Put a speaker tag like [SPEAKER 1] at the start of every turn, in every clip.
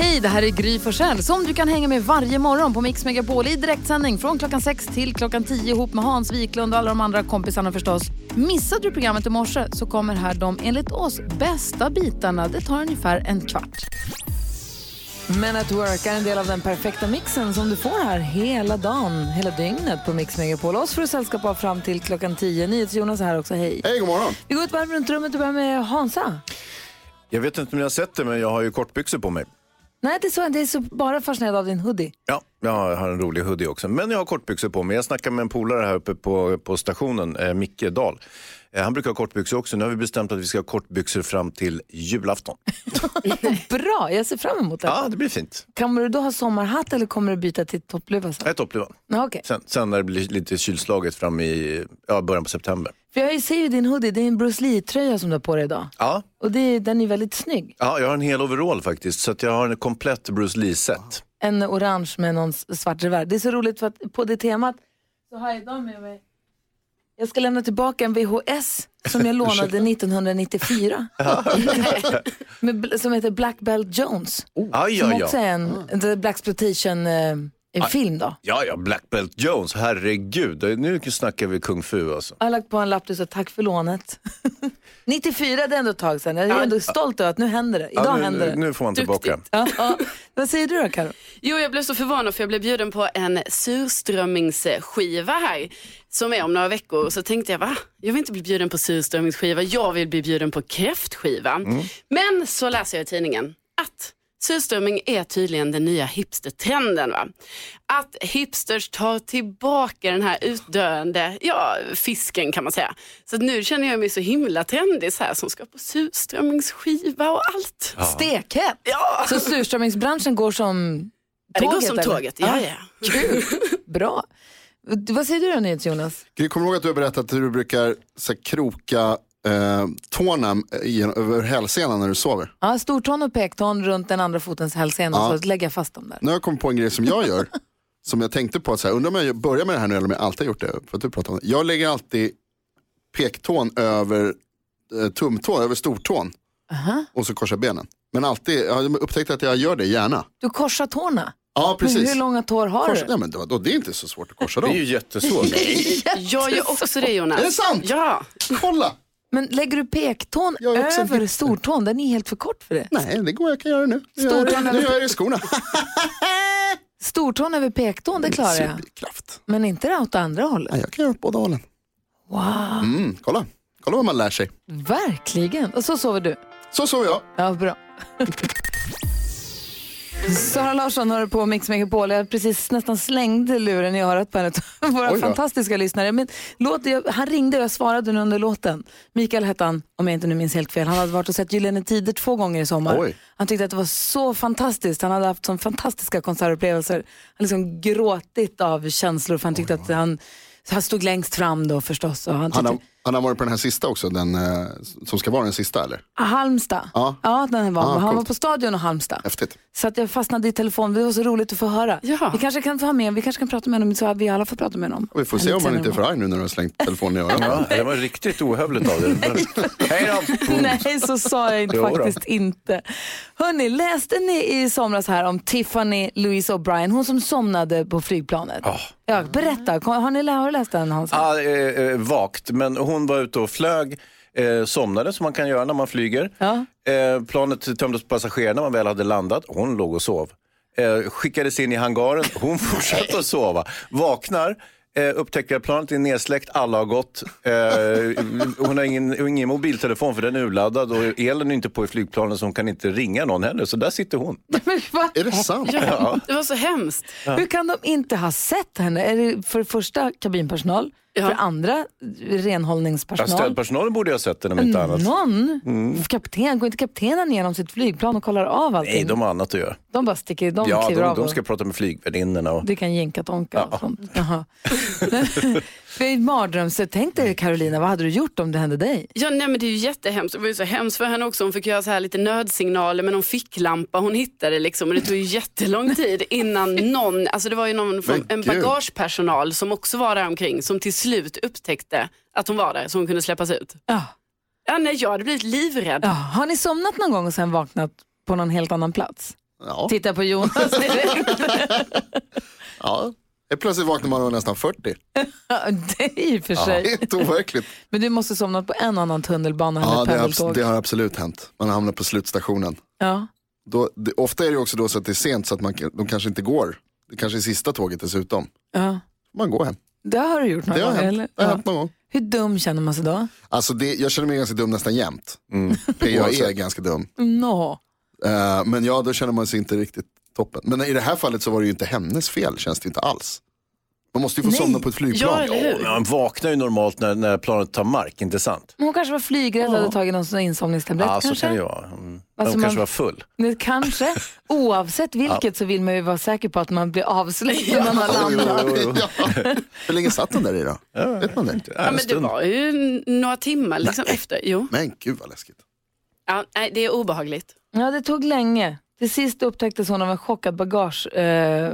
[SPEAKER 1] Hej, det här är Gry Forssell som du kan hänga med varje morgon på Mix Megapol i direktsändning från klockan 6 till klockan 10 ihop med Hans Wiklund och alla de andra kompisarna förstås. Missade du programmet i morse så kommer här de enligt oss bästa bitarna. Det tar ungefär en kvart. Men at Work är en del av den perfekta mixen som du får här hela dagen, hela dygnet på Mix Megapol. Oss får du sällskap av fram till klockan 10. NyhetsJonas är här också, hej.
[SPEAKER 2] Hej, god morgon.
[SPEAKER 1] Vi går ett varv runt rummet och börjar med Hansa.
[SPEAKER 2] Jag vet inte om ni har sett det, men jag har ju kortbyxor på mig.
[SPEAKER 1] Nej, det är, så, det är så bara fascinerad av din hoodie.
[SPEAKER 2] Ja, jag har en rolig hoodie också. Men jag har kortbyxor på mig. Jag snackade med en polare här uppe på, på stationen, eh, Micke Dahl. Eh, han brukar ha kortbyxor också. Nu har vi bestämt att vi ska ha kortbyxor fram till julafton.
[SPEAKER 1] Bra, jag ser fram emot det.
[SPEAKER 2] Ja, det blir fint.
[SPEAKER 1] Kommer du då ha sommarhatt eller kommer du byta till toppluva? sen?
[SPEAKER 2] Jag är toppluvan.
[SPEAKER 1] Ja, okej.
[SPEAKER 2] Sen, sen när det blir lite kylslaget fram i ja, början på september.
[SPEAKER 1] För jag ser ju din hoodie, det är en Bruce Lee-tröja som du har på dig idag.
[SPEAKER 2] Ja,
[SPEAKER 1] Och det, är- den är väldigt snygg.
[SPEAKER 2] ja jag har en hel overall faktiskt. Så att jag har en komplett Bruce Lee-set.
[SPEAKER 1] En orange med någon s- svart revär. Det är så roligt för att på det temat så har jag idag med mig jag ska lämna tillbaka en VHS som jag lånade 1994. Med, bl- som heter Black Belt Jones.
[SPEAKER 2] Aj,
[SPEAKER 1] Som
[SPEAKER 2] ja, Ah.
[SPEAKER 1] också
[SPEAKER 2] ja.
[SPEAKER 1] är en, en Black Exploitation, eh, en film då.
[SPEAKER 2] Ja, ja, Black Belt Jones. Herregud, nu snackar vi kung fu alltså.
[SPEAKER 1] Jag har lagt på en lapp där det står tack för lånet. 94, det är ändå ett tag sedan. Jag är ändå stolt över att nu händer det. Idag
[SPEAKER 2] Ja, nu,
[SPEAKER 1] händer det.
[SPEAKER 2] nu, nu får man tillbaka.
[SPEAKER 1] Ja, ja. Vad säger du då Karo?
[SPEAKER 3] Jo, jag blev så förvånad för jag blev bjuden på en surströmmingsskiva här som är om några veckor. Så tänkte jag, va? Jag vill inte bli bjuden på surströmmingsskiva, jag vill bli bjuden på kräftskiva. Men så läser jag i tidningen att surströmming är tydligen den nya hipstertrenden. Va? Att hipsters tar tillbaka den här utdöende ja, fisken kan man säga. Så att nu känner jag mig så himla trendig så här som ska på surströmmingsskiva och allt.
[SPEAKER 1] Stekhet!
[SPEAKER 3] Ja,
[SPEAKER 1] Så surströmmingsbranschen går som
[SPEAKER 3] det går
[SPEAKER 1] tåget?
[SPEAKER 3] som
[SPEAKER 1] eller?
[SPEAKER 3] tåget. Ja, ja.
[SPEAKER 1] Kul, bra. Du, Vad säger du då Nyhets, Jonas?
[SPEAKER 4] Jag kommer ihåg att du har berättat hur du brukar så här, kroka eh, tårna i, över hälsenan när du sover.
[SPEAKER 1] Ja, stortån och pekton runt den andra fotens hälsena
[SPEAKER 4] Ja.
[SPEAKER 1] så lägger jag fast dem där.
[SPEAKER 4] Nu har jag kommit på en grej som jag gör. som jag tänkte på, att, så här, undrar om jag börjar med det här nu eller om jag alltid har gjort det. För att du pratar om det. Jag lägger alltid pektån över eh, tumtån, över stortån. Och så korsar jag benen. Men alltid, jag har upptäckt att jag gör det gärna.
[SPEAKER 1] Du korsar tårna.
[SPEAKER 4] Ja,
[SPEAKER 1] Men
[SPEAKER 4] precis.
[SPEAKER 1] hur långa tår har
[SPEAKER 4] Korsa,
[SPEAKER 1] du?
[SPEAKER 4] nej, men då, då, det är inte så svårt att korsa
[SPEAKER 2] Det är
[SPEAKER 4] dem.
[SPEAKER 2] ju jättesvårt.
[SPEAKER 3] Jag gör också det Jonas.
[SPEAKER 4] Är det sant?
[SPEAKER 3] Ja.
[SPEAKER 4] Kolla!
[SPEAKER 1] Men lägger du pektån
[SPEAKER 4] Jag är också en
[SPEAKER 1] över
[SPEAKER 4] hipster.
[SPEAKER 1] stortån? Den är helt för kort för det.
[SPEAKER 4] Nej, det går jag kan göra nu. Nu gör jag det- nu gör jag det i skorna.
[SPEAKER 1] Stortån över pektån, det klarar jag.
[SPEAKER 4] Superkraft.
[SPEAKER 1] Men inte det åt andra hållet.
[SPEAKER 4] Nej, jag kan göra åt båda hållen.
[SPEAKER 1] Wow,
[SPEAKER 4] Mm, kolla. kolla vad man lär sig.
[SPEAKER 1] verkligen. Och så sover du.
[SPEAKER 4] Så såg jag.
[SPEAKER 1] Ja, bra. Sara Larsson har på Mix Megapol. Jag precis nästan slängde luren i örat på en av våra
[SPEAKER 4] Oj då.
[SPEAKER 1] fantastiska lyssnare. Men låt, jag, han ringde och jag svarade nu under låten. Mikael hette han, om jag inte nu minns helt fel. Han hade varit och sett Gyllene Tider två gånger i sommar.
[SPEAKER 4] Oj.
[SPEAKER 1] Han tyckte att det var så fantastiskt. Han hade haft så fantastiska konsertupplevelser. Han liksom gråtit av känslor för han tyckte att han, han stod längst fram då förstås. Och han tyckte,
[SPEAKER 4] Han har, han har varit på den här sista också, den eh, som ska vara den sista eller?
[SPEAKER 1] Halmstad.
[SPEAKER 4] Ja.
[SPEAKER 1] den var.
[SPEAKER 4] Ja,
[SPEAKER 1] han var
[SPEAKER 4] coolt.
[SPEAKER 1] på Stadion och Halmstad.
[SPEAKER 4] Häftigt.
[SPEAKER 1] Så att jag fastnade i telefon. Det var så roligt att få höra.
[SPEAKER 3] Ja.
[SPEAKER 1] Vi kanske kan få med vi kanske kan prata med honom så att vi alla får prata med honom.
[SPEAKER 4] Vi får se om han inte är för arg nu när du har slängt telefonen i
[SPEAKER 2] Ja,
[SPEAKER 4] öronen.
[SPEAKER 2] det var riktigt ohövligt av dig. Hej då!
[SPEAKER 1] Nej, så sa jag inte,
[SPEAKER 2] Jo då.
[SPEAKER 1] faktiskt inte. Hörni, läste ni i somras här om Tiffany Louise O'Brien, hon som somnade på flygplanet?
[SPEAKER 2] Ja.
[SPEAKER 1] Ja, berätta, Kom- har, ni, lä- har du läst den Hans?
[SPEAKER 2] Ah, eh, eh, vagt, men hon var ute och flög, eh, somnade som man kan göra när man flyger.
[SPEAKER 1] Ja.
[SPEAKER 2] Eh, planet tömdes på passagerare när man väl hade landat. Hon låg och sov. Eh, skickades in i hangaren, hon fortsatte att sova. Vaknar, eh, upptäcker att planet är nedsläckt, alla har gått. Eh, hon har ingen, ingen mobiltelefon för den är urladdad och elen är inte på i flygplanen så hon kan inte ringa någon heller. Så där sitter hon.
[SPEAKER 1] Men va?
[SPEAKER 4] Är det sant?
[SPEAKER 2] Ja.
[SPEAKER 3] Det var så hemskt.
[SPEAKER 1] Hur kan de inte ha sett henne? Är det för det första kabinpersonal, för det andra renhållningspersonal,
[SPEAKER 2] Städpersonalen Alltså, borde ju ha sett den om
[SPEAKER 1] Mm.
[SPEAKER 2] inte annat.
[SPEAKER 1] Någon?
[SPEAKER 4] Mm.
[SPEAKER 1] Kapten, går inte kaptenen igenom sitt flygplan och kollar av allting?
[SPEAKER 2] Nej, de har annat att göra.
[SPEAKER 1] De bara sticker, de
[SPEAKER 2] ja,
[SPEAKER 1] kliver
[SPEAKER 2] de,
[SPEAKER 1] av.
[SPEAKER 2] de
[SPEAKER 1] och-
[SPEAKER 2] ska prata med flygvärdinnorna. Och...
[SPEAKER 1] Det kan jänka tonka och sånt. Jaha. För i mardröm, så tänk dig Carolina, vad hade du gjort om det hände dig?
[SPEAKER 3] Ja, nej, men det är ju jättehemskt. Det var ju så hemskt för henne också. Hon fick göra så här lite nödsignaler med någon ficklampa hon hittade. Liksom. Och det tog ju jättelång tid innan någon, alltså det var ju någon från,
[SPEAKER 4] Men
[SPEAKER 3] en
[SPEAKER 4] gud.
[SPEAKER 3] bagagepersonal som också var där omkring som till slut upptäckte att hon var där så hon kunde släppas ut.
[SPEAKER 1] Ja.
[SPEAKER 3] Ja, nej, jag hade blivit livrädd.
[SPEAKER 1] Ja, har ni somnat någon gång och sen vaknat på någon helt annan plats?
[SPEAKER 4] Ja,
[SPEAKER 1] Titta på Jonas direkt.
[SPEAKER 4] ja. Plötsligt vaknar man och är nästan 40.
[SPEAKER 1] Ja, det är i och för sig.
[SPEAKER 4] Helt overkligt.
[SPEAKER 1] Men du måste ha somnat på en annan tunnelbana
[SPEAKER 4] Ja,
[SPEAKER 1] eller
[SPEAKER 4] det, har, abs-
[SPEAKER 1] pendeltåg.
[SPEAKER 4] det har absolut hänt. Man hamnar på slutstationen.
[SPEAKER 1] Ja.
[SPEAKER 4] Då, det, ofta är det också då så att det är sent så att man, kan- de kanske inte går. Det kanske är sista tåget dessutom.
[SPEAKER 1] Ja.
[SPEAKER 4] Man går hem.
[SPEAKER 1] Det har du gjort någon
[SPEAKER 4] Det har
[SPEAKER 1] gång,
[SPEAKER 4] hänt,
[SPEAKER 1] eller?
[SPEAKER 4] det har
[SPEAKER 1] Ja.
[SPEAKER 4] hänt någon gång.
[SPEAKER 1] Hur dum känner man sig då?
[SPEAKER 4] Alltså det, jag känner mig ganska dum nästan jämt. För Jag är ganska dum.
[SPEAKER 1] No.
[SPEAKER 4] Eh, men ja, då känner man sig inte riktigt toppen. Men i det här fallet så var det ju inte hennes fel, känns det inte alls. Man måste ju få
[SPEAKER 1] Nej.
[SPEAKER 4] somna på ett
[SPEAKER 3] Ja,
[SPEAKER 4] flygplan.
[SPEAKER 3] eller hur?
[SPEAKER 2] Man vaknar ju normalt när, när planet tar mark, inte sant?
[SPEAKER 1] Men Hon kanske var flygrädd och hade tagit någon sån insomningstablett
[SPEAKER 2] Ja, så
[SPEAKER 1] kanske?
[SPEAKER 2] kan det vara. Mm.
[SPEAKER 1] Alltså,
[SPEAKER 2] de kanske
[SPEAKER 1] man-
[SPEAKER 2] var full.
[SPEAKER 1] Nej, kanske. Oavsett vilket så vill man ju vara säker på att man blir avslöjad när man landar.
[SPEAKER 4] Ja. Hur länge satt den där i då? Vet man det?
[SPEAKER 2] Ja,
[SPEAKER 3] Ja,
[SPEAKER 2] en
[SPEAKER 3] men det
[SPEAKER 2] stund.
[SPEAKER 3] var ju n- några timmar liksom efter. Jo.
[SPEAKER 4] Men gud vad läskigt.
[SPEAKER 3] Ja, nej, det är obehagligt.
[SPEAKER 1] Ja, det tog länge. Till sist upptäcktes hon av en chockad bagagevagnförare eh,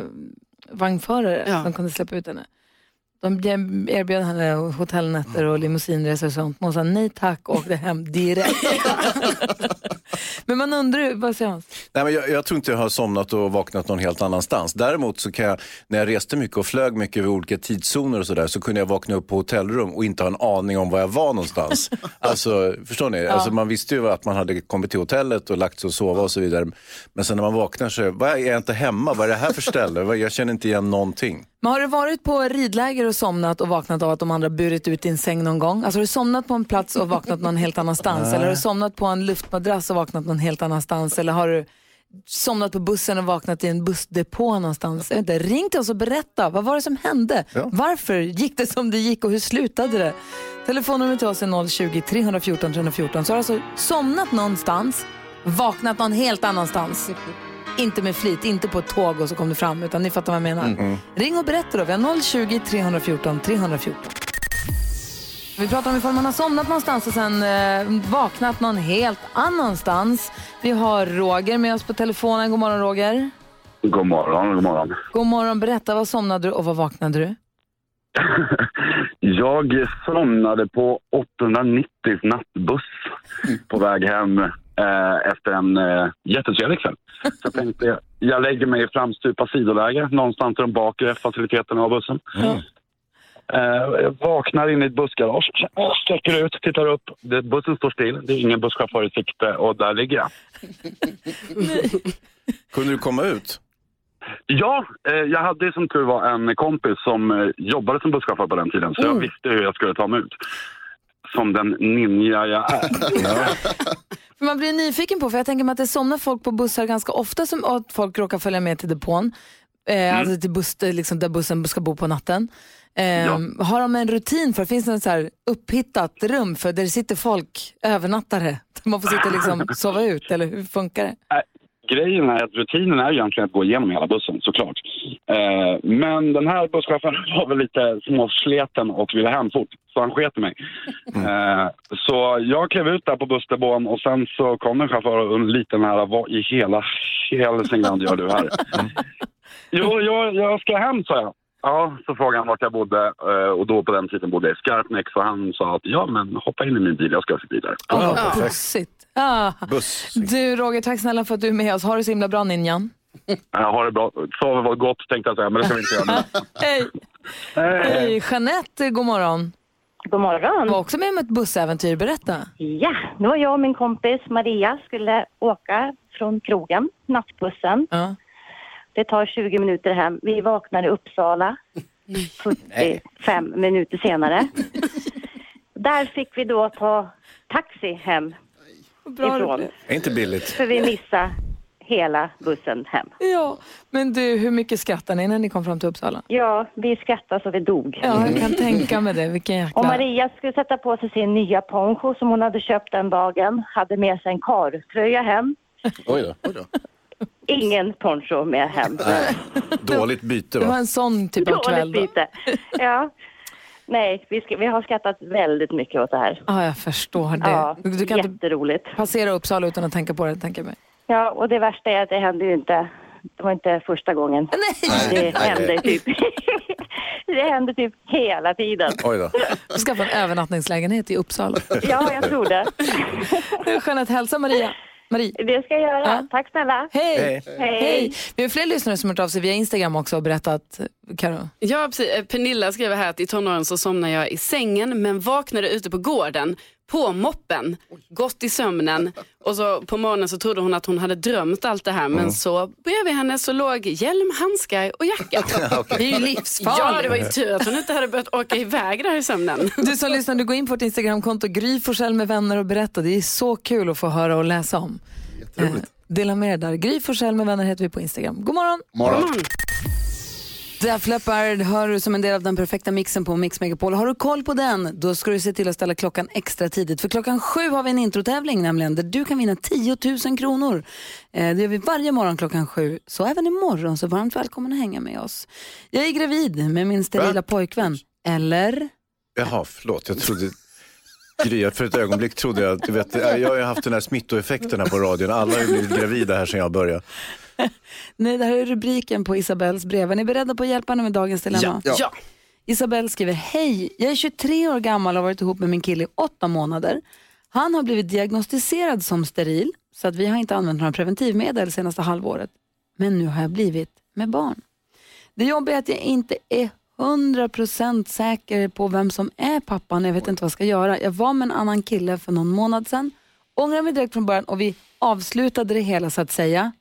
[SPEAKER 1] vagnförare
[SPEAKER 3] Ja.
[SPEAKER 1] som kunde släppa ut henne. De bjö- erbjöd henne hotellnätter och limousinresor och sånt. Men hon sa nej tack och åkte hem direkt. Men man undrar ju, vad säger Hans?
[SPEAKER 2] Nej, men jag, jag tror inte jag har somnat och vaknat någon helt annanstans. Däremot så kan jag, när jag reste mycket och flög mycket över olika tidszoner och sådär, så kunde jag vakna upp på hotellrum och inte ha en aning om var jag var någonstans. alltså, förstår ni? Alltså, man visste ju att man hade kommit till hotellet och lagt sig och sova och så vidare. Men sen när man vaknar så, är- vad är är jag inte hemma? Vad är det här för ställe? Vad- Jag känner inte igen någonting.
[SPEAKER 1] Men har du varit på ridläger och somnat och vaknat av att de andra burit ut din säng någon gång? Alltså har du somnat på en plats och vaknat någon helt annanstans? Eller har du somnat på en luftmadrass och vaknat någon helt annanstans? Eller har du somnat på bussen och vaknat i en bussdepå någonstans? Jag vet inte, ring till oss och berätta. Vad var det som hände? Varför gick det som det gick och hur slutade det? Telefonnumret till oss är 020-314 314. Så har du alltså somnat någonstans, vaknat någon helt annanstans. Inte med flit, inte på ett tåg och så kom du fram, utan ni fattar vad jag menar. Ring och berätta då. Vi har 020 314 314. Vi pratar om ifall man har somnat någonstans och sen eh, vaknat någon helt annanstans. Vi har Roger med oss på telefonen. God morgon Roger.
[SPEAKER 5] God morgon, god morgon.
[SPEAKER 1] God morgon. Berätta, vad somnade du och vad vaknade du?
[SPEAKER 5] Jag somnade på 890 nattbuss på väg hem eh, efter en eh, jättetrevlig kväll. Så jag tänkte, jag lägger mig i framstupa sidoläge någonstans i de bakre faciliteterna av bussen. Eh, jag vaknar in i ett bussgarage, sträcker ut, tittar upp. Det, bussen står still, det är ingen busschaufför i sikte och där ligger jag.
[SPEAKER 2] Kunde du komma ut?
[SPEAKER 5] Ja, eh, jag hade som tur var en kompis som eh, jobbade som busschaufför på den tiden så jag visste hur jag skulle ta mig ut. Som den ninja jag är.
[SPEAKER 1] För man blir nyfiken på, för jag tänker mig att det somnar folk på bussar ganska ofta som att folk råkar följa med till depån. Eh, Alltså till buss, liksom där bussen ska bo på natten. Eh, Har de en rutin för, finns det något så här upphittat rum för där det sitter folk, övernattare? Där man får sitta och liksom sova ut, eller hur funkar det?
[SPEAKER 5] Äh, Grejen är att rutinen är egentligen att gå igenom hela bussen såklart. Eh, men den här busschauffören var väl lite småsleten och ville hem fort så han sket i mig. Eh, så jag klev ut där på bussdepån och sen så kom en chaufför och en liten här, vad i hela Hälsingland gör du här? Jo, jag, jag ska hem, sa jag. Ja, så frågade han vart jag bodde eh, och då på den tiden bodde jag i Skarpnäck så han sa att ja men hoppa in i min bil, jag ska förbi där.
[SPEAKER 1] Ja,
[SPEAKER 2] Ja,
[SPEAKER 1] vad
[SPEAKER 2] perfekt.
[SPEAKER 1] pussigt. Ah.
[SPEAKER 2] Buss.
[SPEAKER 1] Du Roger, tack snälla för att du är med oss. Har det så himla bra ninjan.
[SPEAKER 5] Jag har det bra, sover var gott tänkte jag säga men det ska vi inte göra nu.
[SPEAKER 1] Hej! Hej! Jeanette, god morgon.
[SPEAKER 6] God
[SPEAKER 1] Du var
[SPEAKER 6] morgon.
[SPEAKER 1] också med om ett bussäventyr, berätta.
[SPEAKER 6] Ja, nu var jag och min kompis Maria skulle åka från krogen, nattbussen.
[SPEAKER 1] Ja.
[SPEAKER 6] Det tar 20 minuter hem. Vi vaknar i Uppsala 45 minuter senare. Där fick vi då ta taxi hem ifrån,
[SPEAKER 2] Är inte billigt.
[SPEAKER 6] för vi missade hela bussen hem.
[SPEAKER 1] Ja, men du, hur mycket skrattade ni när ni kom fram till Uppsala?
[SPEAKER 6] Ja, vi skrattade så vi dog.
[SPEAKER 1] Ja, jag kan tänka mig det. Vilken jäkla...
[SPEAKER 6] Och Maria skulle sätta på sig sin nya poncho som hon hade köpt den dagen. Hade med sig en kartröja hem.
[SPEAKER 2] Oj då.
[SPEAKER 6] Ingen poncho med hem.
[SPEAKER 2] Dåligt byte
[SPEAKER 1] Det var
[SPEAKER 2] va?
[SPEAKER 1] en sån typ av kväll.
[SPEAKER 6] Dåligt
[SPEAKER 1] Då.
[SPEAKER 6] byte. Ja.
[SPEAKER 5] Nej, vi, ska, vi har skrattat väldigt mycket åt det här.
[SPEAKER 7] Ja, jag förstår det.
[SPEAKER 5] Ja,
[SPEAKER 7] du kan inte
[SPEAKER 5] jätteroligt.
[SPEAKER 7] passera Uppsala utan att tänka på det, tänker jag mig.
[SPEAKER 5] Ja, och det värsta är att det hände ju inte. Det var inte första gången.
[SPEAKER 7] Nej!
[SPEAKER 5] Det hände typ. det hände typ hela tiden.
[SPEAKER 2] Oj då.
[SPEAKER 7] Du ska få en övernattningslägenhet i Uppsala.
[SPEAKER 5] Ja, jag tror det.
[SPEAKER 7] Jeanette, hälsa Maria. Marie.
[SPEAKER 5] Det ska jag göra.
[SPEAKER 7] Ja.
[SPEAKER 5] Tack snälla.
[SPEAKER 7] Hej!
[SPEAKER 2] Hej.
[SPEAKER 7] Hej! Vi har fler lyssnare som har hört av sig via Instagram också och berättat, Karo.
[SPEAKER 3] Ja, precis. Eh, Pernilla skriver här att i tonåren så somnade jag i sängen men vaknade ute på gården, på moppen, gått i sömnen och så på morgonen så trodde hon att hon hade drömt allt det här men så bredvid henne så låg hjälm, handskar och jacka.
[SPEAKER 7] Det är ju
[SPEAKER 3] ja, det
[SPEAKER 7] livsfarligt.
[SPEAKER 3] var ju tur att hon inte hade börjat åka iväg där i sömnen.
[SPEAKER 7] Du som lyssnar, du går in på vårt Instagramkonto, Gry Forssell med vänner och berätta. Det är så kul att få höra och läsa om. Jätteroligt. Dela med er där. Gry Forssell med vänner heter vi på Instagram. God morgon!
[SPEAKER 3] Mm.
[SPEAKER 4] Morgon.
[SPEAKER 1] Def Leppard hör du som en del av den perfekta mixen på Mix Megapol. Har du koll på den, då ska du se till att ställa klockan extra tidigt. För klockan sju har vi en introtävling nämligen där du kan vinna 10 000 kronor. Eh, Det gör vi varje morgon klockan sju. Så även imorgon, så varmt välkommen att hänga med oss. Jag är gravid med min sterila
[SPEAKER 2] Va?
[SPEAKER 1] pojkvän. Eller?
[SPEAKER 2] Jaha, förlåt. Jag trodde... Gry, jag- för ett ögonblick trodde jag att, du vet, jag har ju haft den här smittoeffekten här på radion. Alla har ju blivit gravida här sedan jag började.
[SPEAKER 1] Nej, det här är rubriken på Isabells brev. Är ni beredda på att hjälpa henne med dagens dilemma?
[SPEAKER 4] Ja.
[SPEAKER 3] Ja.
[SPEAKER 1] Isabelle skriver, hej, jag är 23 år gammal och har varit ihop med min kille i åtta månader. Han har blivit diagnostiserad som steril, så att vi har inte använt några preventivmedel senaste halvåret. Men nu har jag blivit med barn. Det jobbiga är att jag inte är 100% säker på vem som är pappan. Jag vet inte vad jag ska göra. Jag var med en annan kille för någon månad sedan, ångrade mig direkt från början och vi avslutade det hela så att säga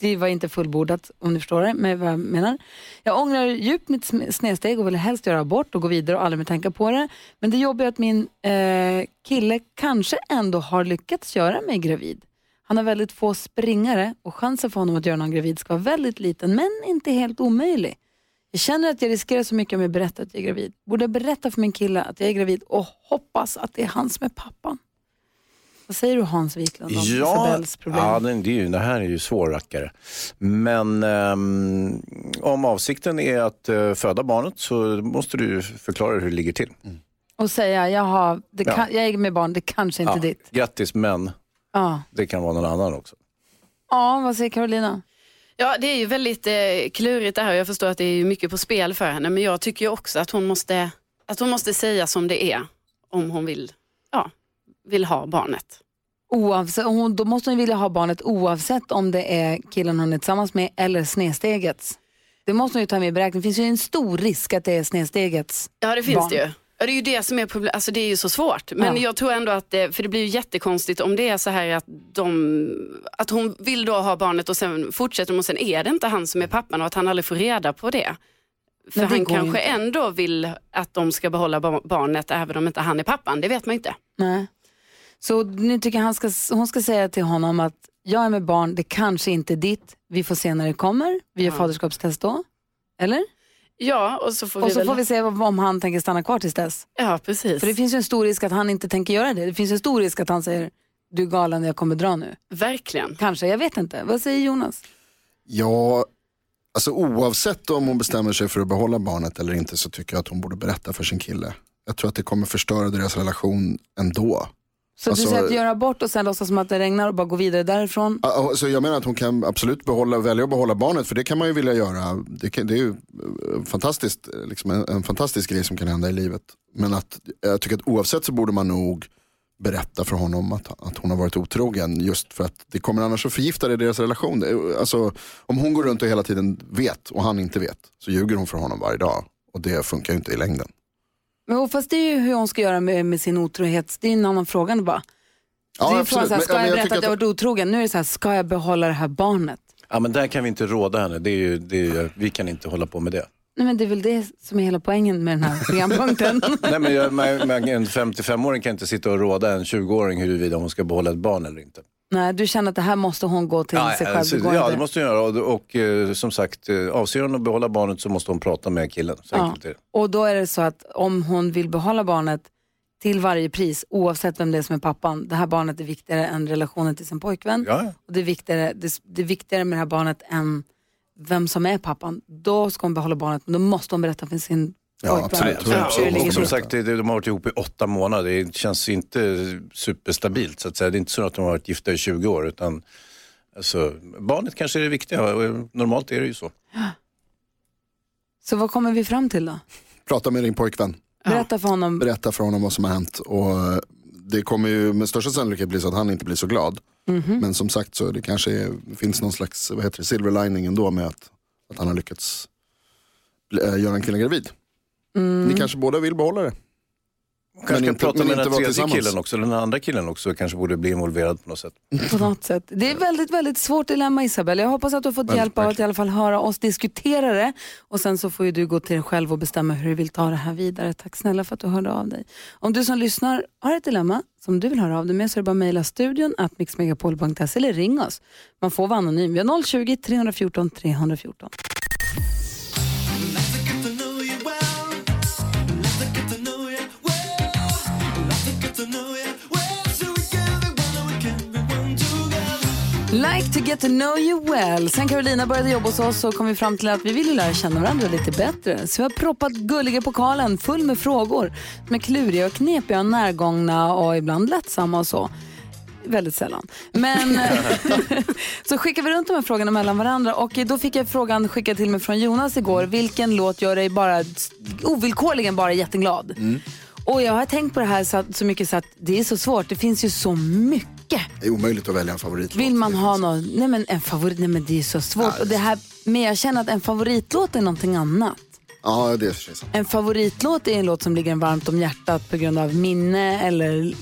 [SPEAKER 1] det var inte fullbordat om du förstår det, men vad jag menar. Jag ångrar djupt mitt sm- snedsteg och vill helst göra abort och gå vidare och aldrig mer tänka på det. Men det jobbiga är att min eh, kille kanske ändå har lyckats göra mig gravid. Han har väldigt få springare och chansen för honom att göra någon gravid ska vara väldigt liten, men inte helt omöjlig. Jag känner att jag riskerar så mycket om jag berättar att jag är gravid. Borde jag berätta för min kille att jag är gravid och hoppas att det är han som är pappan? Vad säger du Hans Wiklund om Isabells problem?
[SPEAKER 2] ja den, det, är ju, det här är ju svårrackare. Men ehm, om avsikten är att eh, föda barnet så måste du förklara hur det ligger till.
[SPEAKER 1] och säga jaha, det
[SPEAKER 2] Ja.
[SPEAKER 1] kan, jag är med barn, det kanske inte är ditt.
[SPEAKER 2] Grattis, men
[SPEAKER 1] Ja.
[SPEAKER 2] det kan vara någon annan också.
[SPEAKER 1] ja, vad säger Carolina?
[SPEAKER 3] Ja, det är ju väldigt eh, klurigt det här och jag förstår att det är ju mycket på spel för henne. Men jag tycker ju också att hon måste, att hon måste säga som det är om hon vill, ja, vill ha barnet.
[SPEAKER 1] Oavsett, hon, då måste hon ju vilja ha barnet oavsett om det är killen hon är tillsammans med eller snedsteget. Det måste hon ju ta med i beräkningen. Det finns ju en stor risk att det är snedsteget.
[SPEAKER 3] Ja, det finns
[SPEAKER 1] Barn.
[SPEAKER 3] det ju. Ja, det är ju det som är problemet. Alltså det är ju så svårt. Men
[SPEAKER 1] Ja.
[SPEAKER 3] jag tror ändå att det, för det blir ju jättekonstigt om det är så här att, de, att hon vill då ha barnet och sen fortsätter de och sen är det inte han som är pappan och att han aldrig får reda på det. För
[SPEAKER 1] Nej, det
[SPEAKER 3] han
[SPEAKER 1] går ju
[SPEAKER 3] kanske
[SPEAKER 1] inte.
[SPEAKER 3] ändå vill att de ska behålla ba- barnet även om inte han är pappan. Det vet man inte.
[SPEAKER 1] Nej. Så nu tycker jag han ska, hon ska säga till honom att jag är med barn, det kanske inte är ditt. Vi får se när det kommer. Vi gör faderskapstest då. Eller?
[SPEAKER 3] Ja, och så får
[SPEAKER 1] Och
[SPEAKER 3] vi
[SPEAKER 1] så
[SPEAKER 3] väl...
[SPEAKER 1] får vi se vad- om han tänker stanna kvar tills dess.
[SPEAKER 3] Ja, precis.
[SPEAKER 1] För det finns ju en stor risk att han inte tänker göra det. Det finns ju en stor risk att han säger du är galen, jag kommer dra nu.
[SPEAKER 3] Verkligen.
[SPEAKER 1] Kanske, jag vet inte. Vad säger Jonas?
[SPEAKER 4] Ja, alltså oavsett om hon bestämmer sig för att behålla barnet eller inte så tycker jag att hon borde berätta för sin kille. Jag tror att det kommer förstöra deras relation ändå.
[SPEAKER 1] Så
[SPEAKER 4] Alltså-
[SPEAKER 1] du säger att göra abort och sen låtsas som att det regnar och bara gå vidare därifrån.
[SPEAKER 4] Ja, ja, Så jag menar att hon kan absolut behålla, välja att behålla barnet för det kan man ju vilja göra. Det, kan, det är ju eh, fantastiskt, eh, liksom en, en fantastisk grej som kan hända i livet. Men att, jag tycker att oavsett så borde man nog berätta för honom att, att hon har varit otrogen just för att det kommer annars att förgifta det i deras relation. Det är- Alltså, om hon går runt och hela tiden vet och han inte vet så ljuger hon för honom varje dag och det funkar ju inte i längden.
[SPEAKER 1] Men och fast det är ju hur hon ska göra med, med sin otrohet, det är ju en annan fråga nu bara.
[SPEAKER 4] Ja,
[SPEAKER 1] det är ju frågan
[SPEAKER 4] absolut.
[SPEAKER 1] så här,
[SPEAKER 4] Men-
[SPEAKER 1] ska
[SPEAKER 4] ja, men
[SPEAKER 1] jag
[SPEAKER 4] jag
[SPEAKER 1] berätta
[SPEAKER 4] tycker
[SPEAKER 1] att jag
[SPEAKER 4] att-
[SPEAKER 1] varit otrogen? Nu är det så här, ska jag behålla det här barnet?
[SPEAKER 2] Ja, men där kan vi inte råda henne. Det är ju, det är ju, vi kan inte hålla på med det.
[SPEAKER 1] Nej men det är väl det som är hela poängen med den här programpunkten.
[SPEAKER 2] Nej, men jag, man, man, en 55-åring kan inte sitta och råda en 20-åring huruvida hon ska behålla ett barn eller inte.
[SPEAKER 1] Nej, du känner att det här måste hon gå till sig själv.
[SPEAKER 2] alltså,
[SPEAKER 1] Det går
[SPEAKER 2] ja,
[SPEAKER 1] inte.
[SPEAKER 2] det måste hon göra. Och, och eh, som sagt, eh, avser hon att behålla barnet så måste hon prata med killen. Så
[SPEAKER 1] Ja.
[SPEAKER 2] enkelt är det.
[SPEAKER 1] Och då är det så att om hon vill behålla barnet till varje pris, oavsett vem det är som är pappan, det här barnet är viktigare än relationen till sin pojkvän.
[SPEAKER 2] Ja, ja.
[SPEAKER 1] Och det är, viktigare, det, det är viktigare med det här barnet än vem som är pappan. Då ska hon behålla barnet, men då måste hon berätta för sin
[SPEAKER 4] Ja, absolut.
[SPEAKER 2] Ja,
[SPEAKER 1] Hur ligger
[SPEAKER 2] och som
[SPEAKER 1] det?
[SPEAKER 2] sagt, det- de har varit ihop i åtta månader. Det känns inte superstabilt. Så att säga. Det är inte så att de har varit gifta i 20 år. Utan, alltså, barnet kanske är det viktiga. och eh, Normalt är det ju så.
[SPEAKER 1] Så vad kommer vi fram till då?
[SPEAKER 4] Prata med din pojkvän.
[SPEAKER 1] Berätta för honom.
[SPEAKER 4] Berätta för honom vad som har hänt. Och eh, det kommer ju med största sannolikhet bli så att han inte blir så glad.
[SPEAKER 1] Mhm.
[SPEAKER 4] Men som sagt så det kanske är, finns någon slags vad heter det, silver lining ändå med att, att han har lyckats bli- eh, göra en kille gravid.
[SPEAKER 1] Mm.
[SPEAKER 4] Ni kanske båda vill behålla det.
[SPEAKER 2] Kanske kan
[SPEAKER 4] inte-
[SPEAKER 2] prata
[SPEAKER 4] men
[SPEAKER 2] med
[SPEAKER 4] inte
[SPEAKER 2] den
[SPEAKER 4] vara
[SPEAKER 2] tredje
[SPEAKER 4] tillsammans.
[SPEAKER 2] killen också. eller Den andra killen också kanske borde bli involverad på något sätt.
[SPEAKER 1] på något sätt. Det är ett väldigt, väldigt svårt dilemma Isabel. Jag hoppas att du har fått
[SPEAKER 4] Väldigt
[SPEAKER 1] hjälp av att i
[SPEAKER 4] verkligen.
[SPEAKER 1] alla fall höra oss diskutera det. Och sen så får ju du gå till dig själv och bestämma hur du vill ta det här vidare. Tack snälla för att du hörde av dig. Om du som lyssnar har ett dilemma som du vill höra av dig med så är det bara att mejla studion att mixmegapol.se eller ring oss. Man får vara anonym. Vi har 020-314 314. Like to get to know you well. Sen Carolina började jobba hos oss så kom vi fram till att vi ville lära känna varandra lite bättre. Så vi har proppat gulliga pokalen full med frågor som är kluriga och knepiga och närgångna och ibland lättsamma och så. Väldigt sällan. Men så skickar vi runt de här frågorna mellan varandra och då fick jag frågan skickad till mig från Jonas igår. Vilken låt gör dig bara ovillkorligen bara jätteglad? Och jag har tänkt på det här så, att, så mycket så att det är så svårt. Det finns ju så mycket.
[SPEAKER 4] Det är omöjligt att välja en favoritlåt.
[SPEAKER 1] Vill man ha någon, nej men en favorit, nej men det är så svårt. och det här, men jag känner att en favoritlåt är någonting annat.
[SPEAKER 4] Ja, det är precis.
[SPEAKER 1] En favoritlåt är en låt som ligger en varmt om hjärtat på grund av minne eller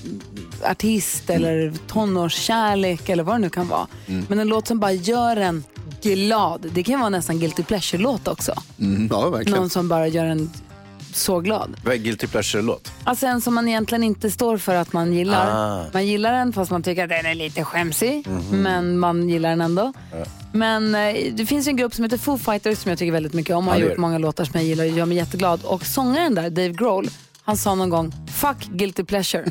[SPEAKER 1] artist eller tonårskärlek eller vad det nu kan vara. Men en låt som bara gör en glad, det kan ju vara nästan guilty pleasure-låt också.
[SPEAKER 4] Mm, ja, verkligen.
[SPEAKER 1] Någon som bara gör en så glad.
[SPEAKER 2] Vad är guilty pleasure-låt?
[SPEAKER 1] Alltså en som man egentligen inte står för att man gillar.
[SPEAKER 2] Ah. Mhm.
[SPEAKER 1] Man gillar den fast man tycker att den är lite skämsig. Men man gillar den ändå. Men eh, det finns ju en grupp som heter Foo Fighters som jag tycker väldigt mycket om. och
[SPEAKER 2] Ja,
[SPEAKER 1] har
[SPEAKER 2] det är
[SPEAKER 1] gjort
[SPEAKER 2] det.
[SPEAKER 1] många låtar som jag gillar och gör mig jätteglad. Och sångaren där, Dave Grohl, han sa någon gång “Fuck guilty pleasure”.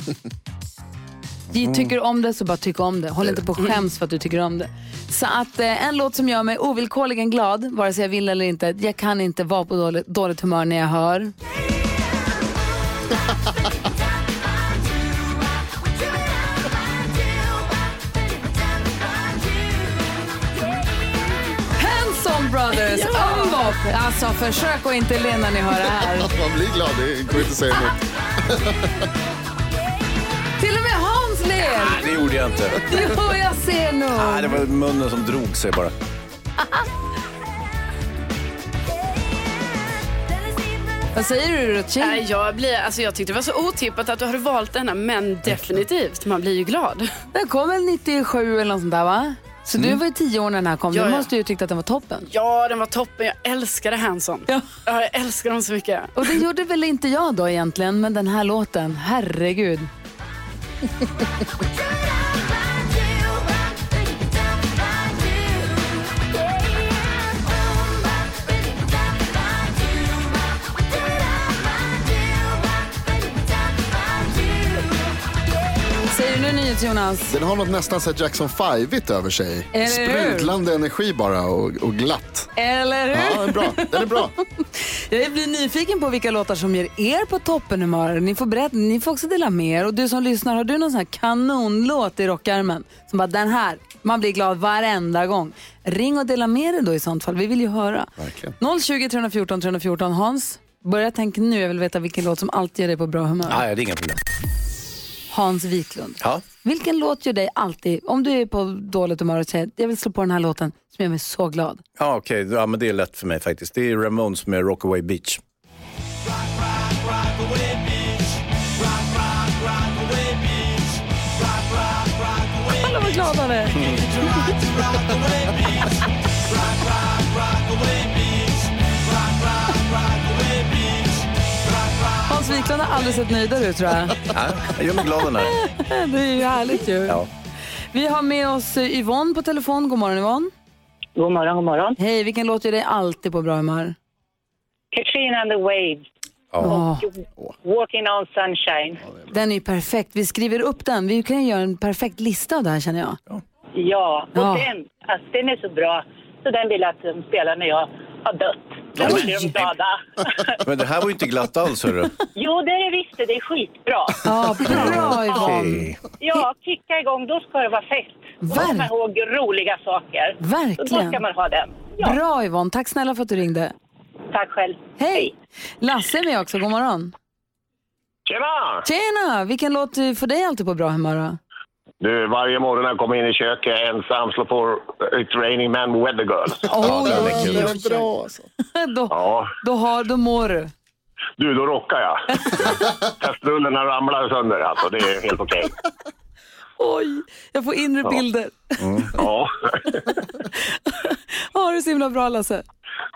[SPEAKER 1] Vi tycker om det så bara tyck om det. Håll inte på och skäms för att du tycker om det. Så att eh, en låt som gör mig ovillkorligen glad, vare sig jag vill eller inte. Jag kan inte vara på dåligt, dåligt humör när jag hör. Hanson Brothers, Unbop. Alltså försök att inte le när ni hör det här.
[SPEAKER 4] Man blir glad, det går inte att säga emot.
[SPEAKER 1] Till och med Hans ler.
[SPEAKER 2] Det gjorde jag inte.
[SPEAKER 1] Jo, jag ser
[SPEAKER 2] Nej,
[SPEAKER 1] nog.
[SPEAKER 2] det var munnen som drog sig bara.
[SPEAKER 1] Vad säger du Rutschi?
[SPEAKER 3] Nej, jag, blir, alltså, jag tyckte det var så otippat att du hade valt denna, men definitivt, man blir ju glad.
[SPEAKER 1] Den kom väl 97 eller något sånt där va? Så du var ju tio år när den här kom.
[SPEAKER 3] Mm. Ja,
[SPEAKER 1] du
[SPEAKER 3] ja.
[SPEAKER 1] måste ju tyckt att den var toppen.
[SPEAKER 3] Ja, den var toppen. Jag älskade Hanson. Ja. jag älskar dem så mycket.
[SPEAKER 1] Och det gjorde väl inte jag då egentligen, men den här låten, herregud. Säger du nu nyhets Jonas?
[SPEAKER 4] Den har något nästan så här Jackson 5-igt över sig.
[SPEAKER 1] Eller hur?
[SPEAKER 4] Sprudlande energi bara och, och glatt.
[SPEAKER 1] Eller hur?
[SPEAKER 4] Ja, den är bra. Den är bra.
[SPEAKER 1] Jag blir nyfiken på vilka låtar som ger er på toppenhumör. Ni får berätta, ni får också dela med er. Och du som lyssnar, har du någon sån här kanonlåt i rockärmen? Som bara den här, man blir glad varenda gång. Ring och dela med er då i sånt fall, vi vill ju höra.
[SPEAKER 4] Verkligen.
[SPEAKER 1] 020 314 314 Hans, börja tänka nu, jag vill veta vilken låt som alltid gör dig på bra humör.
[SPEAKER 2] Nej, det är inga problem.
[SPEAKER 1] Hans Wiklund.
[SPEAKER 2] Ja.
[SPEAKER 1] Vilken låt gör dig alltid, om du är på dåligt humör och säger jag vill slå på den här låten som gör mig så glad.
[SPEAKER 2] Ja, okej. Ja, men det är lätt för mig faktiskt. Det är Ramones med Rockaway Beach.
[SPEAKER 1] Alla vad glada han är. Hans Wiklund har aldrig sett nöjdare ut tror jag.
[SPEAKER 2] Ja, jag gör mig glad den här.
[SPEAKER 1] Det är ju härligt ju.
[SPEAKER 2] Ja.
[SPEAKER 1] Vi har med oss eh, Yvonne på telefon. God morgon Yvonne.
[SPEAKER 5] God morgon, god morgon.
[SPEAKER 1] Hej, vilken låt gör dig alltid på bra humör?
[SPEAKER 5] Katrina and the Waves,
[SPEAKER 1] Åh,
[SPEAKER 5] Walking on Sunshine.
[SPEAKER 1] den är ju perfekt. Vi skriver upp den. Vi kan ju göra en perfekt lista av det här känner jag.
[SPEAKER 5] Ja, och
[SPEAKER 1] Ja.
[SPEAKER 5] den, alltså, den är så bra så den vill jag att de spelar när jag har dött.
[SPEAKER 8] Jag var dum skada.
[SPEAKER 2] Men det här var ju inte glatt alls, hörru.
[SPEAKER 8] Jo, det är det visst det. Det är skitbra.
[SPEAKER 1] Ja, bra Yvonne.
[SPEAKER 2] Okej.
[SPEAKER 8] Ja, kicka igång. Då ska det vara fest. Då ska man
[SPEAKER 1] Verk-
[SPEAKER 8] ihåg roliga saker. Då ska
[SPEAKER 1] Verkligen.
[SPEAKER 8] man ha den. Ja,
[SPEAKER 1] Bra Yvonne, tack snälla för att du ringde.
[SPEAKER 8] tack själv.
[SPEAKER 1] Hej! Lasse är med också, god morgon.
[SPEAKER 9] Tjena!
[SPEAKER 1] Tjena! Vilken låt eh, får dig alltid på bra humör då?
[SPEAKER 9] Du, varje morgon när jag kommer in i köket ensam slår på It's Raining Men Weather Girls.
[SPEAKER 1] Oj,
[SPEAKER 9] den
[SPEAKER 1] oj,
[SPEAKER 9] är kul.
[SPEAKER 1] oj, oj. då,
[SPEAKER 9] Ja,
[SPEAKER 1] då, har, då mår du.
[SPEAKER 9] du, då rockar jag. Kastrullerna ramlar sönder alltså, det är helt okej.
[SPEAKER 1] Oj, jag får inre
[SPEAKER 9] Ja. Mm,
[SPEAKER 1] bilder.
[SPEAKER 9] Ja.
[SPEAKER 1] Ha det så himla bra Lasse.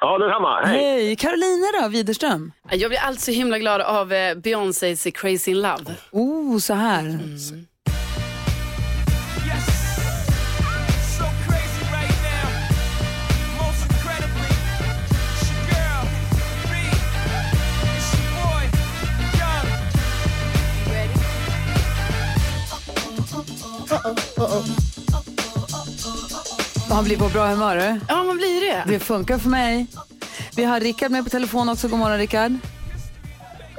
[SPEAKER 9] ja, detsamma. Hej!
[SPEAKER 1] Hej! Carolina då, Widerström?
[SPEAKER 3] Jag blir allt så himla glad av eh, Beyoncés Crazy in Love.
[SPEAKER 1] Oh, så här.
[SPEAKER 9] Mm.
[SPEAKER 1] Han blir på bra humör. du.
[SPEAKER 3] Ja, man blir det.
[SPEAKER 1] Det funkar för mig. Vi har Rickard med på telefon också. God morgon Rickard.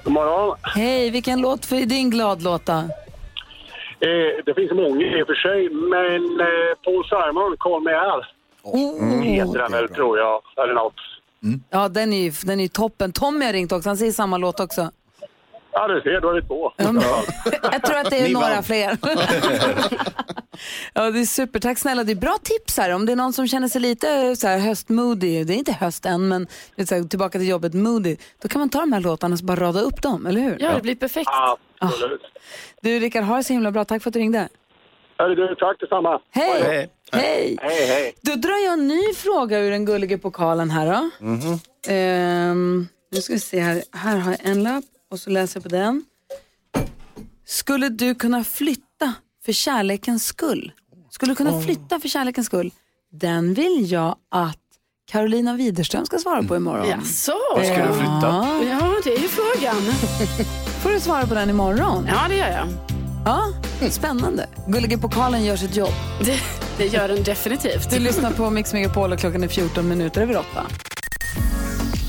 [SPEAKER 10] God morgon.
[SPEAKER 1] Hej, vilken låt för din glad låta?
[SPEAKER 10] Eh, det finns många i och för sig, men eh, Paul Simon, Call Me Al.
[SPEAKER 1] Mm.
[SPEAKER 10] Heter den väl, tror jag. Eller något.
[SPEAKER 1] Ja, den är ju den är ju toppen. Tommy har ringt också. Han säger samma låt också.
[SPEAKER 10] Ja, du ser, då är vi två.
[SPEAKER 1] Jag tror att det är
[SPEAKER 10] Mm. Ni
[SPEAKER 1] några
[SPEAKER 10] vann.
[SPEAKER 1] fler. ja, det är super. Tack snälla. Det är bra tips här. Om det är någon som känner sig lite eh, så här höstmoody, det är inte höst än, men det är så här, tillbaka till jobbet moody, då kan man ta de här låtarna och så bara rada upp dem, eller hur?
[SPEAKER 3] Ja, det blir perfekt.
[SPEAKER 10] Absolut.
[SPEAKER 1] Du Rickard, ha det så himla bra. Tack för att du ringde.
[SPEAKER 10] Hörru du, tack detsamma.
[SPEAKER 1] Hej. Hej.
[SPEAKER 10] Hej! Hej,
[SPEAKER 1] Då drar jag en ny fråga ur den gullige pokalen här då. Ehm, nu ska vi se här. Här har jag en lapp och så läser jag på den. Skulle du kunna flytta för kärlekens skull? Skulle du kunna flytta för kärlekens skull? Den vill jag att Carolina Widerström ska svara på imorgon.
[SPEAKER 3] Jaså?
[SPEAKER 1] Vad Mm. ska du flytta?
[SPEAKER 3] Ja, det är ju frågan.
[SPEAKER 1] Får du svara på den imorgon?
[SPEAKER 3] Ja, det gör jag.
[SPEAKER 1] Ja, spännande. Gullige pokalen gör sitt jobb.
[SPEAKER 3] Det, det gör den definitivt.
[SPEAKER 1] Du lyssnar på Mix Megapol och klockan är 14 minuter över 8.